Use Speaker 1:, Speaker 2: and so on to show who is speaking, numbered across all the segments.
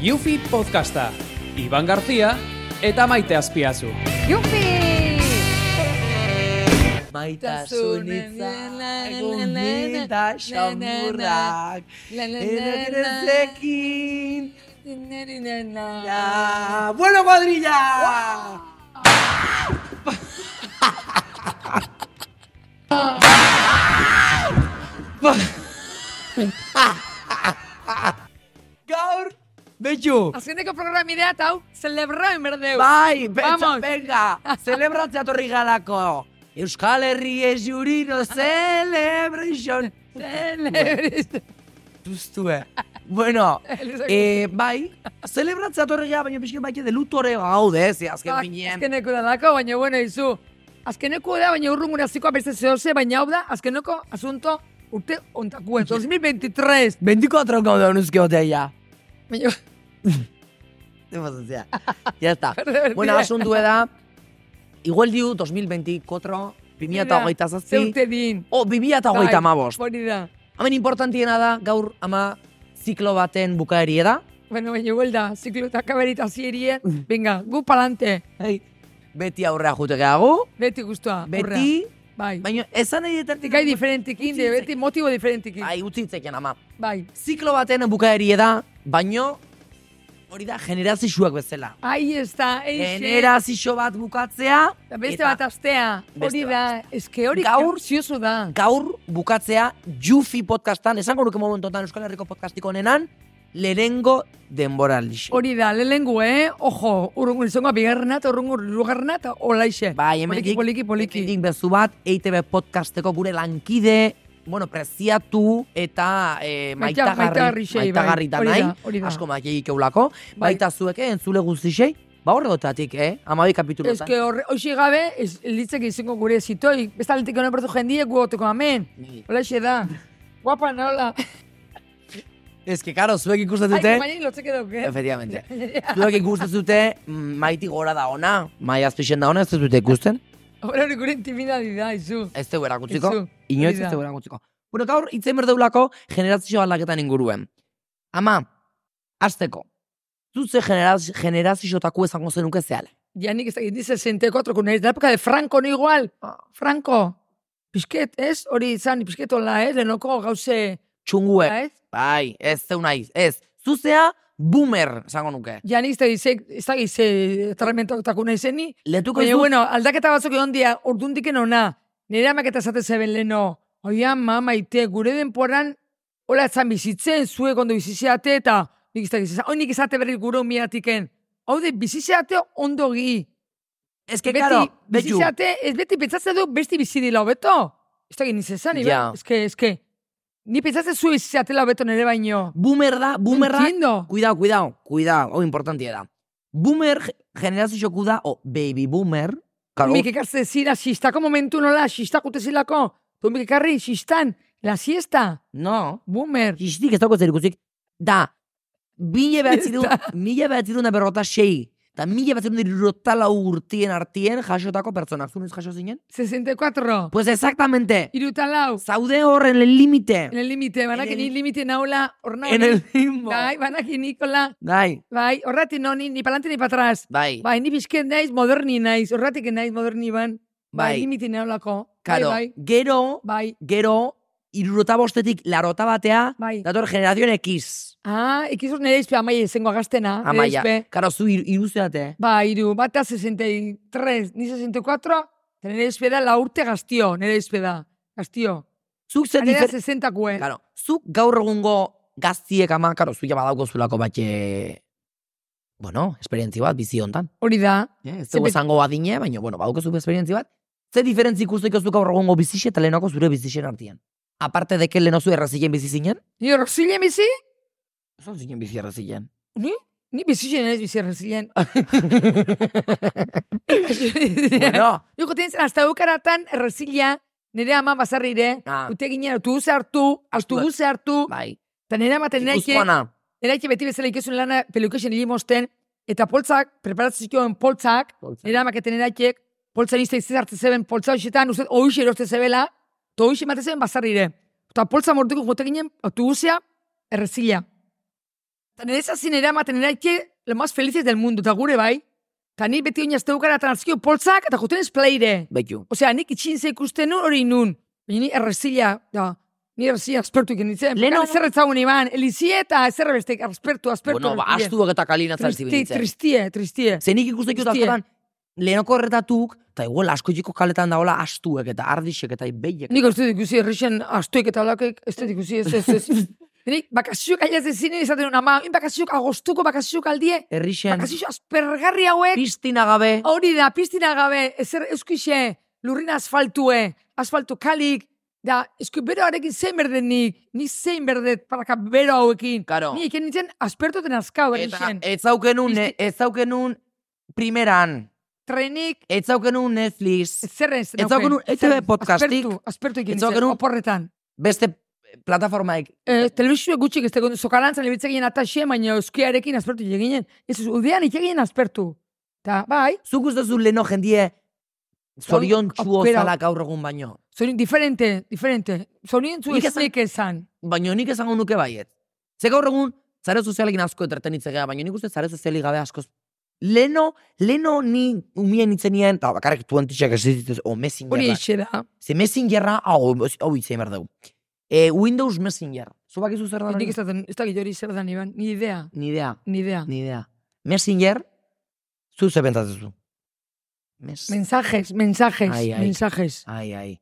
Speaker 1: Yufi Podcasta, Iban Garzia eta Maite Azpiazu.
Speaker 2: Yupi!
Speaker 3: Maitasun hitzak, gomita xamurrak, erakirezekin, ja, bueno kuadrilla! Gaur, betxu,
Speaker 2: Azkeneko programidea eta hau, celebra enberdeu.
Speaker 3: bai, betxa,
Speaker 2: Vamos.
Speaker 3: venga, celebratzea torri galako. Euskal Herri ez jurino celebration.
Speaker 2: Celebra.
Speaker 3: Duztue. Bueno,
Speaker 2: Elizako.
Speaker 3: eh, bai, celebratzea torri gara, baina pixkin baita delutore gaude, ez, eh,
Speaker 2: Ba,
Speaker 3: azken finean.
Speaker 2: Azkeneko da dako, baina bueno, izu. Azkeneko da, baina urrungura zikoa beste zehose, baina hau da, azkeneko asunto urte ontakuen, 2023.
Speaker 3: Bendiko atron gaude honuzke botea ja.
Speaker 2: Baina,
Speaker 3: Ze pazientzia. ya está.
Speaker 2: Perdón,
Speaker 3: bueno,
Speaker 2: tía.
Speaker 3: asuntu da, igual diu 2024, 2008
Speaker 2: Ze
Speaker 3: zazpi,
Speaker 2: urte din.
Speaker 3: o 2008
Speaker 2: Bai,
Speaker 3: amabost.
Speaker 2: Hori da.
Speaker 3: Hemen importantiena da, gaur ama ziklo baten bukaerie da.
Speaker 2: Bueno, baina huelda, ziklo eta kaberita zierie, eh?
Speaker 3: Mm.
Speaker 2: venga, gu palante,
Speaker 3: Hey. Beti aurrea jute gehago,
Speaker 2: beti guztua,
Speaker 3: beti,
Speaker 2: bai.
Speaker 3: baina esan nahi detartik.
Speaker 2: Tikai diferentikin, de,
Speaker 3: Utzi Bai.
Speaker 2: beti motibo diferentikin,
Speaker 3: Ai, utzi itzeken ama.
Speaker 2: bai.
Speaker 3: Ziklo baten bukaerie da, baino, hori da, generazioak bezala.
Speaker 2: Ahí está, eixe.
Speaker 3: Generazio bat bukatzea,
Speaker 2: Eta Beste
Speaker 3: eta-
Speaker 2: bat astea, hori
Speaker 3: Beste
Speaker 2: da, eske hori
Speaker 3: Gaur-
Speaker 2: ziozu da.
Speaker 3: gaur bukatzea Jufi podcastan, esango nuke momentotan Euskal Herriko podcastiko nenan, lehenengo denboraldixe.
Speaker 2: Hori da, lehengu, eh? Ojo, urrungur izango, bigarrena eta urrungur lugarrena eta olaixe.
Speaker 3: Bai,
Speaker 2: poliki,
Speaker 3: hemendik
Speaker 2: poliki, poliki.
Speaker 3: hemendik bezu bat, E EITB podcasteko gure lankide, bueno, preziatu eta e,
Speaker 2: Maita-
Speaker 3: maitagarri,
Speaker 2: maitagarri xei, bai.
Speaker 3: maitagarri da
Speaker 2: Hori da,
Speaker 3: nahi,
Speaker 2: hori da.
Speaker 3: asko makiegik eulako,
Speaker 2: Bai.
Speaker 3: baita zueke entzule guztixei, ba horre gotatik, eh? Amabi kapitulotan.
Speaker 2: Eske horre, hoxe gabe, ez, litzek izango gure zitoi. Bestaldetik honen pertu jendie, gu oteko amen.
Speaker 3: Ni.
Speaker 2: Olaixe da. Guapa nola.
Speaker 3: Eske, karo, zuek ikusten
Speaker 2: Ai,
Speaker 3: dute,
Speaker 2: baina lotzeke dauke.
Speaker 3: efectivamente, zuek ikusten dute, mm, maiti gora da ona, mai azpixen da ona, ez dute ikusten?
Speaker 2: Hora hori gure intimidadi da, izu.
Speaker 3: Ez dugu erakutziko.
Speaker 2: Izu,
Speaker 3: Inoiz
Speaker 2: hori da.
Speaker 3: ez dugu erakutziko. Bueno, gaur itzen berdeulako generazio aldaketan inguruen. Ama, azteko. Zutze generaz, generaziotaku esango zenuke zehala.
Speaker 2: Ya nik ez dakit, ni 64 kun naiz, da época de Franco no igual. Franco, pixket, ez? Hori izan, pixket hola, ez? Denoko gauze,
Speaker 3: Txungue.
Speaker 2: ez?
Speaker 3: Bai, ez zeu naiz. Ez. Zuzea, boomer esango nuke.
Speaker 2: Ja nik ez dakit, ze- ez dakit, ze tratamentoetako nahi zeni.
Speaker 3: Letuko ez
Speaker 2: Baina,
Speaker 3: dut,
Speaker 2: bueno, aldaketa batzuk egon dia, orduntiken ona. Nire amak eta zaten zeben leno. Oia, mama, ite, gure denporan, hola etzan bizitzen, zuek ondo bizizeate, eta nik ez dakit, hoi nik izate berri gure umiatiken. Hau de, bizizeate ondo gi.
Speaker 3: eske, karo,
Speaker 2: beti
Speaker 3: betxu.
Speaker 2: bizitzate, ez beti pentsatzen du beste bizi dila hobeto. Ez da giniz esan, ibe.
Speaker 3: Ja.
Speaker 2: Eske, eske. Ni pentsatzen zu bizitzatela hobeto nere baino.
Speaker 3: Boomer da, boomerra.
Speaker 2: Entiendo.
Speaker 3: Cuidao, cuidao, cuidao, hau importantia da. Boomer ge- generazioku da, o baby boomer. Karo,
Speaker 2: Mik ekartzen zira, xistako momentu nola, xistakute zilako. Tu mik ekarri, xistan, la siesta,
Speaker 3: no.
Speaker 2: boomer.
Speaker 3: Kistik ez dauko zer ikuzik, da, mila behatzirun, mila behatzirun da berrota sei, eta mila behatzirun da irurota lau urtien artien jasotako pertsonak, zunez jaso zinen?
Speaker 2: 64.
Speaker 3: Pues exactamente,
Speaker 2: Iruta lau.
Speaker 3: zaude horren el límite.
Speaker 2: En el límite, banakin
Speaker 3: En
Speaker 2: ni
Speaker 3: el-
Speaker 2: límite naula, orna.
Speaker 3: En el limbo.
Speaker 2: Bai, banakin nikola.
Speaker 3: Bai,
Speaker 2: Bai, horrati noni, ni palante ni patraz.
Speaker 3: bai,
Speaker 2: Bai, ni bizken naiz, moderni naiz, horratik naiz, moderni ban. Bai,
Speaker 3: Bai.
Speaker 2: limite naulako.
Speaker 3: karo,
Speaker 2: Bai,
Speaker 3: gero,
Speaker 2: bai.
Speaker 3: gero, irurota bostetik larota batea,
Speaker 2: Bai.
Speaker 3: dator generazion X.
Speaker 2: Ah, ikizu nire izpe amaia izango gaztena. nire
Speaker 3: Amaia,
Speaker 2: izpe.
Speaker 3: karo, zu ir, iruzeate.
Speaker 2: Ba, iru, bata 63, ni 64, eta nire izpe da la urte gaztio, nire izpe da. Gaztio.
Speaker 3: Zuk zer
Speaker 2: Nire da
Speaker 3: difer...
Speaker 2: 60 kue.
Speaker 3: Karo, zuk gaur egungo gaztiek ama, karo, zu ja badauko zulako bate... Bueno, esperientzi bat bizi hontan.
Speaker 2: Hori da.
Speaker 3: Eh, ez dugu
Speaker 2: Zepe-
Speaker 3: esango adine, baina, bueno, badukazu esperientzi bat. Ze diferentzi ikusteko zuk gaur egungo bizixe eta lehenako zure bizixen artean. Aparte deke lehenozu errazilen bizi zinen?
Speaker 2: Ni horrozile bizi?
Speaker 3: Zon zinen bizi errazilen.
Speaker 2: Ni? Ni bizi zen ez bizi errezilen.
Speaker 3: bueno,
Speaker 2: Joko tenzen, hasta eukaratan errezila, nire ama bazarrire,
Speaker 3: Ah.
Speaker 2: ute ginen autobuse hartu, autobuse hartu,
Speaker 3: bai.
Speaker 2: eta nire amaten naike,
Speaker 3: Ikuzkoana.
Speaker 2: Eraike beti bezala ikizun lana pelukesen hilimosten, eta poltzak, preparatzen zituen poltzak,
Speaker 3: Poltsak.
Speaker 2: eramaketen eraikek, poltzan izte izte hartzen zeben, poltza hoxetan, uste, hoxe erosten zebela, eta hoxe ematen zeben bazarrire. Eta poltza mortuko jote ginen, autobusea, errezila. Eta nire zazin eramaten eraike, lo más felices del mundo, eta gure bai. Eta ni beti oinaz teukara transkio poltzak, eta juten ez playre.
Speaker 3: Baitu.
Speaker 2: Osea, nik itxin ze ikusten nun hori nun. Baina ni errezila, da, ni errezila aspertu ikin nintzen.
Speaker 3: Leno-
Speaker 2: Leno... Zer ezagun iban, elizie eta ezerre beste, aspertu, aspertu.
Speaker 3: Bueno, ba,
Speaker 2: errezile.
Speaker 3: astuak eta kalina zaltzi
Speaker 2: Tristi,
Speaker 3: bintzen.
Speaker 2: tristie, tristie.
Speaker 3: Zenik ikusten dut
Speaker 2: Tristie.
Speaker 3: askotan, lehenoko horretatuk, eta igual asko jiko kaletan daola astuek eta ardixek eta ibeiek.
Speaker 2: Nik ez dut ikusi errexen astoik eta lakek, ez dut ikusi ez, ez, ez. Nik bakaziok ailaz ezinen izaten hona, ama, in bakaziok agostuko bakaziok aldie,
Speaker 3: Herrixen,
Speaker 2: bakaziok aspergarri hauek,
Speaker 3: pistina gabe,
Speaker 2: hori da, piztina gabe, ezer euskixe, lurrin asfaltue, asfaltu kalik, da, esku beroarekin zein berden nik, ni zein berdet paraka bero hauekin.
Speaker 3: Karo.
Speaker 2: Ni iken nintzen aspertuten askau,
Speaker 3: eta e-
Speaker 2: errexen.
Speaker 3: ez zaukenun, ne- ez zaukenun primeran,
Speaker 2: Trenik,
Speaker 3: ez zaukenun Netflix,
Speaker 2: zer ez
Speaker 3: Ez daukan un ETV podcastik.
Speaker 2: Aspertu, aspertu ikin
Speaker 3: Ez
Speaker 2: nintzen,
Speaker 3: daukan un-
Speaker 2: oporretan.
Speaker 3: beste plataformaik,
Speaker 2: Eh, telebizio gutxik ez tegon zokalantzan lebitzen ginen ataxe, baina euskiarekin aspertu eginen. Ez, ez, udean iteginen aspertu. Ta, bai,
Speaker 3: zuk uste zu leno jendie zorion txuo
Speaker 2: aukera-
Speaker 3: zala gaur egun baino.
Speaker 2: zorin diferente, diferente. Zorin zu
Speaker 3: Nik
Speaker 2: ez
Speaker 3: esan- Bai,
Speaker 2: nik esan.
Speaker 3: Baino nik esango nuke baiet. Ze gaur egun, zare sozialekin asko entretenitze gara, baina nik uste zare sozialik gabe asko. Leno, leno ni umien itzenien, eta bakarrik tuan tixak ez dituz, o
Speaker 2: Hori
Speaker 3: Messenger.
Speaker 2: eixe da.
Speaker 3: Ze Messengerra, hau, hau itzen behar dugu. E, Windows Messenger. Zubak izu zer da?
Speaker 2: Nik
Speaker 3: hori?
Speaker 2: ez daten, ez dakit hori zer dan, Iban. Ni idea,
Speaker 3: Ni idea,
Speaker 2: ni idea.
Speaker 3: ni idea. Messenger, zu ze pentsatzen zu. Mes...
Speaker 2: Mensajes, mensajes,
Speaker 3: Ai, Ah, ai.
Speaker 2: mensajes.
Speaker 3: Ai, ai.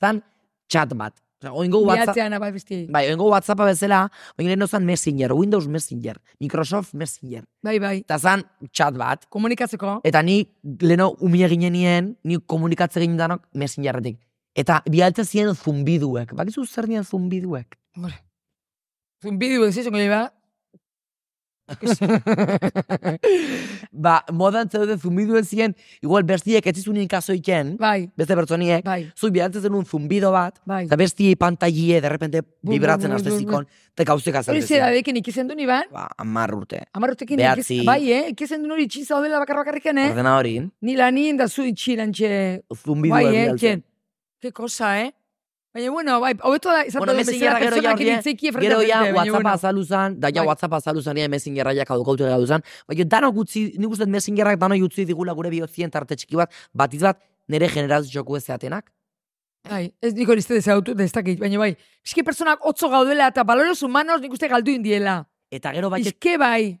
Speaker 3: Zan, chat bat. Osa, oingo WhatsApp,
Speaker 2: Biatzean abai besti.
Speaker 3: Bai, oingo WhatsAppa bezala, baina lehen zan Messenger, Windows Messenger, Microsoft Messenger.
Speaker 2: Bai, bai.
Speaker 3: Eta zan chat bat.
Speaker 2: Komunikatzeko.
Speaker 3: Eta ni leno umia ginenien, ni komunikatze ginen danok Messengerretik. Eta bialtze ziren zumbiduek. Bakizu zer dian zumbiduek?
Speaker 2: Hombre. Zumbideo ez izango iba.
Speaker 3: ba, modan zeuden zumbiduek ziren, igual bestiek ez zizunien kaso iken,
Speaker 2: Bai,
Speaker 3: beste pertsoniek,
Speaker 2: bai,
Speaker 3: zu bialtze zenun zumbido bat,
Speaker 2: bai.
Speaker 3: eta bestiei pantaile derrepente
Speaker 2: bu,
Speaker 3: vibratzen
Speaker 2: bu,
Speaker 3: haste
Speaker 2: bu, bu.
Speaker 3: zikon, eta gauzek
Speaker 2: Hori
Speaker 3: azaltzen
Speaker 2: zera
Speaker 3: ziren.
Speaker 2: dekin ikizen du Iban.
Speaker 3: Ba, amar urte.
Speaker 2: Amarrotekin
Speaker 3: Behatzi.
Speaker 2: ikiz, bai, eh? Ikizen duen hori itxin zaudela bakar bakarriken, eh?
Speaker 3: Ordena hori,
Speaker 2: Ni lanin da zu itxiran, txe.
Speaker 3: zumbidu
Speaker 2: Bai, eh,
Speaker 3: erdialtzen.
Speaker 2: txen. Ke cosa, eh? Baina, bueno, bai, hobeto da, izan
Speaker 3: Bueno, mesingera gero ja hori, gero ja WhatsApp azaldu zan, da ja
Speaker 2: Bai.
Speaker 3: WhatsApp azaldu zan, ja mesingera ja kadukaute gau zan, baina danok utzi, nik uste dut mesingerrak danok utzi digula gure bihotzien tarte txiki bat, batiz bat, nire generazioku ez zeatenak.
Speaker 2: Bai, ez nik hori zede zautu, da ez dakit, baina bai. Bizki personak otzo gaudela eta baloros humanos nik uste galdu indiela.
Speaker 3: Eta gero baiet,
Speaker 2: Bizke bai,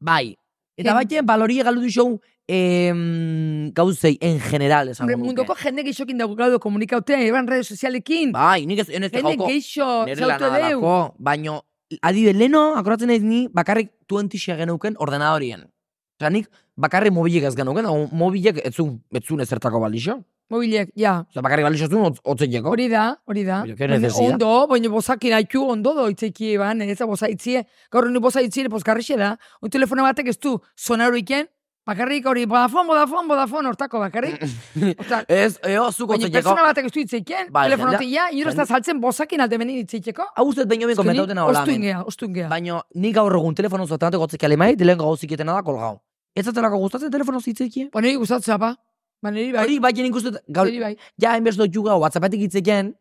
Speaker 3: bai. Eta
Speaker 2: Em-
Speaker 3: baitien balorie galdu dixou, em, gauzei, en general, esango
Speaker 2: hombre,
Speaker 3: nuke.
Speaker 2: munduko jende geixokin dago gaudu komunikautea, eban redes sozialekin.
Speaker 3: Bai, nik ez, enez
Speaker 2: Jende
Speaker 3: joko,
Speaker 2: geixo,
Speaker 3: nire
Speaker 2: zautu
Speaker 3: lana
Speaker 2: deu.
Speaker 3: dalako, baino, adibidez, leno, akoratzen ez ni, bakarrik tuentixia geneuken ordenadorien. Osa, nik bakarrik mobilek ez geneuken, hau mobilek etzun, etzun ezertako balixo.
Speaker 2: Mobilek, ja.
Speaker 3: Osa, bakarrik balixo zuen otz, otzeineko.
Speaker 2: Hori da, hori da.
Speaker 3: Baina, ke
Speaker 2: Baina
Speaker 3: necesidad.
Speaker 2: Ondo, baina bozakin haitu ondo doitzeki ban, ez da boza itzie. Gaur nu boza itzie poskarrixe da. Un telefono batek ez du sonaruiken, bakarrik hori Vodafone, Vodafone, Vodafone hortako bakarrik. Ota,
Speaker 3: Ez, eo, zuk
Speaker 2: baina
Speaker 3: otzeineko.
Speaker 2: persona batek ez du itzeiken,
Speaker 3: Bai,
Speaker 2: telefono
Speaker 3: jendea-
Speaker 2: ja, ino ez da
Speaker 3: jende-
Speaker 2: saltzen bozakin alde menin itzeikeko.
Speaker 3: Hau ustez baino beko metauten hau
Speaker 2: ostu
Speaker 3: lamen.
Speaker 2: ingea, ostu ingea.
Speaker 3: Baina, nik gaur egun telefono zotanateko otzeki alemai, dilen gau ziketena da kolgau. Ez zatelako gustatzen telefono zitzekien.
Speaker 2: Ba, niri gustatzea, ba. Ba, niri bai,
Speaker 3: Hori, baina nik uste, gaur,
Speaker 2: niri bai.
Speaker 3: ja, enbez dut juga, whatsappetik itzekien,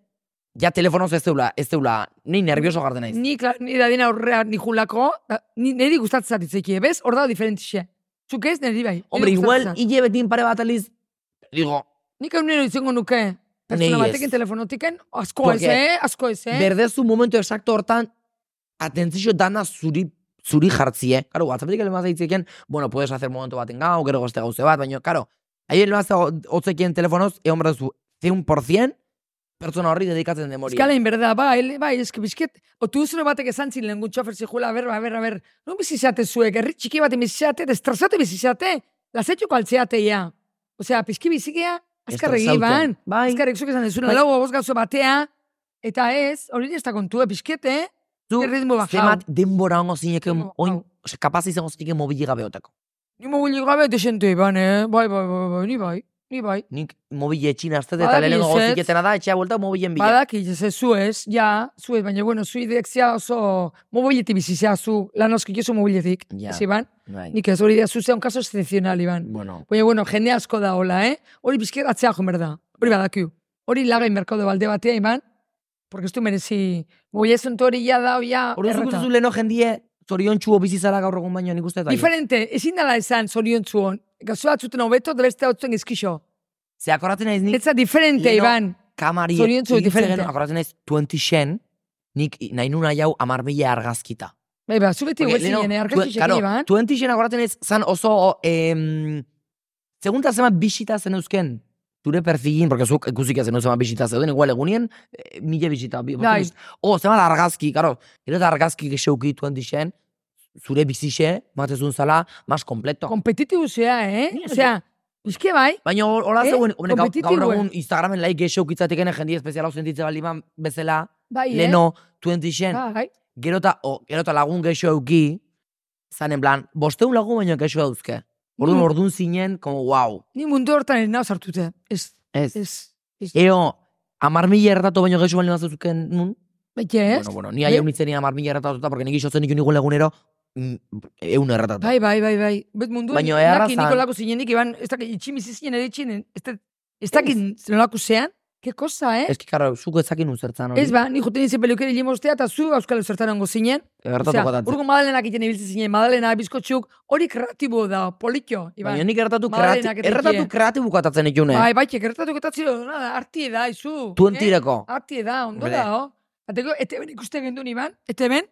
Speaker 3: ja telefonoz ez deula, ez deula, ni nervioso garden naiz.
Speaker 2: Ni, kla- ni dadin aurrean nijulako, da- ni, niri gustatzea itzeiki, bez? Hor dago diferentxe. Zuk ez, niri bai. Niri
Speaker 3: Hombre, igual,
Speaker 2: gustatzea.
Speaker 3: hile betin pare bat aliz, digo,
Speaker 2: Nik egunero izango nuke.
Speaker 3: Nei
Speaker 2: Pertsona
Speaker 3: ez.
Speaker 2: batekin telefonotiken, asko ez,
Speaker 3: Porque
Speaker 2: eh? Asko ez, eh?
Speaker 3: berdezu momentu exacto hortan, atentzio dana zuri zuri jartzie. Claro, WhatsAppetik elemaz daitzeken, bueno, puedes hacer momentu baten gau, gero goste este gauze bat, baina, claro, ahi elemaz hotzekien telefonoz, egon berdezu, 100% pertsona horri dedikatzen demoria.
Speaker 2: Eskala inberda, bai, ele- bai, eski bizket, otuzero batek esan zin lehen gutxofer zijula, a ber, a ber, a ber, non bizizate zuek, herri txiki baten bizizate, destrazate bizizate, lazetxoko altzeate ia. Osea, pizki bizikea, azkarregi
Speaker 3: Estresauten.
Speaker 2: ban,
Speaker 3: Bai,
Speaker 2: azkarrek zuk esan dezuna,
Speaker 3: Bai.
Speaker 2: lau boz gauzo batea, eta ez, hori ez da kontua, pizkete, eh?
Speaker 3: zu,
Speaker 2: erritmo bajau.
Speaker 3: zemat denbora hongo zineken,
Speaker 2: Erritmo
Speaker 3: oin,
Speaker 2: bajau.
Speaker 3: ose, kapaz izango zineken mobili gabe otako.
Speaker 2: Ni mobilik gabe desente iban, eh? Bai, bai, bai, bai, ni bai, ni bai.
Speaker 3: Nik mobile etxin aztete eta
Speaker 2: Badaki
Speaker 3: lehen
Speaker 2: ezetz.
Speaker 3: goziketena da, etxea buelta mobilen bila.
Speaker 2: Badaki, ez zuez, ja, zuez, baina, bueno, zu idekzia oso mobiletik bizizea zu, lan oski jozu mobiletik,
Speaker 3: Ja.
Speaker 2: ez Iban?
Speaker 3: Bai.
Speaker 2: Nik ez hori da zu zeon kaso excepcional, Iban.
Speaker 3: Bueno,
Speaker 2: Baina, bueno, jende asko da hola, eh? Hori bizkiet atzea joan behar da, hori badakiu. Hori lagain merkado balde batea, Iban, porque ez du merezi, mobilezunt hori ja da, ja,
Speaker 3: Orduan zuk
Speaker 2: erreta.
Speaker 3: uste zu leno jendie zorion txuo bizizara gaur egun baino nik uste eta
Speaker 2: Diferente, ezin dala esan zorion zuon. Gazo batzuten hobeto, eta beste batzuten eskixo.
Speaker 3: Ze akoratzen naiz nik
Speaker 2: Etza diferente,
Speaker 3: Leno-
Speaker 2: Iban.
Speaker 3: kamari
Speaker 2: zoriontsu
Speaker 3: ibiltzen
Speaker 2: diferente.
Speaker 3: genuen, akoratzen naiz 20 xen, nik i- nahi nuna jau amar mila argazkita.
Speaker 2: Eba, Bai, ba, zu beti eh?
Speaker 3: Porque
Speaker 2: guetzen
Speaker 3: lehenago,
Speaker 2: jene,
Speaker 3: tuen-
Speaker 2: arkatxixek,
Speaker 3: karo,
Speaker 2: Iban.
Speaker 3: 20 xen akoratzen naiz zan oso, em, segunta zema bisita zen eusken, zure perfilin, porque zuk ikusik zen zema bisita zeuden, igual egunien, e, mila bisita. bi-
Speaker 2: Bai.
Speaker 3: bost- O, zema da argazki, karo, gero eta argazki geseuki 20 xen, zure bizixe, matezun zala, mas kompleto.
Speaker 2: Kompetitibu zea, eh?
Speaker 3: Ni ez-
Speaker 2: Osea, bizke bai,
Speaker 3: Baina hor- hola
Speaker 2: Eh?
Speaker 3: zegoen, hombre, gau- gaur
Speaker 2: Kompetitiboa.
Speaker 3: egun Instagramen laik gehiago kitzatekene jendie espeziala sentitze bali man bezala,
Speaker 2: bai, eh?
Speaker 3: leno, 20 xen,
Speaker 2: Bai,
Speaker 3: gero eta o, gero eta lagun gehiago euki, zanen plan, bosteun lagun baino gehiago dauzke. Orduan,
Speaker 2: Mm.
Speaker 3: orduan zinen, como, wow.
Speaker 2: ni mundu hortan ez nao sartute. Ez,
Speaker 3: Ez.
Speaker 2: ez. Ez,
Speaker 3: Eo, amar mila erratu baino gehiago bali mazuzuken nun.
Speaker 2: bete, ez? Eh?
Speaker 3: Bueno, bueno, ni aia
Speaker 2: Be-
Speaker 3: unitzen amar mila erratu porque nik isotzen ikun ikun lagunero, mm, eun erratatu.
Speaker 2: Bai, bai, bai, bai. Bet mundu
Speaker 3: Baino
Speaker 2: naki
Speaker 3: erraza.
Speaker 2: Nikolako zinenik, Iban, ez dakit, itxin bizi zinen ere itxin, ez da- ez dakit nolako zean, ke kosa, eh?
Speaker 3: Ez ki, karo, zuko ezakin uzertzan hori.
Speaker 2: Ez ba, ni juten izan pelukeri limostea, eta zu euskal zertan ongo zinen.
Speaker 3: Erratatu
Speaker 2: Osea,
Speaker 3: gotatzen.
Speaker 2: urgo madalenak iten ibiltzen zinen, madalena, bizkotxuk, hori kreatibo da, politxo, Iban.
Speaker 3: Baina nik erratatu
Speaker 2: Madalenak
Speaker 3: kreati-
Speaker 2: etekie.
Speaker 3: erratatu kreatibu katatzen ikune.
Speaker 2: Bai, bai, que gertatuko eta zio, nada, arti da, izu. eh?
Speaker 3: Tuen tireko.
Speaker 2: Arti da, ondo
Speaker 3: Hombre.
Speaker 2: da, oh. Ateko, ete ben ikuste gendun, Iban, ete ben.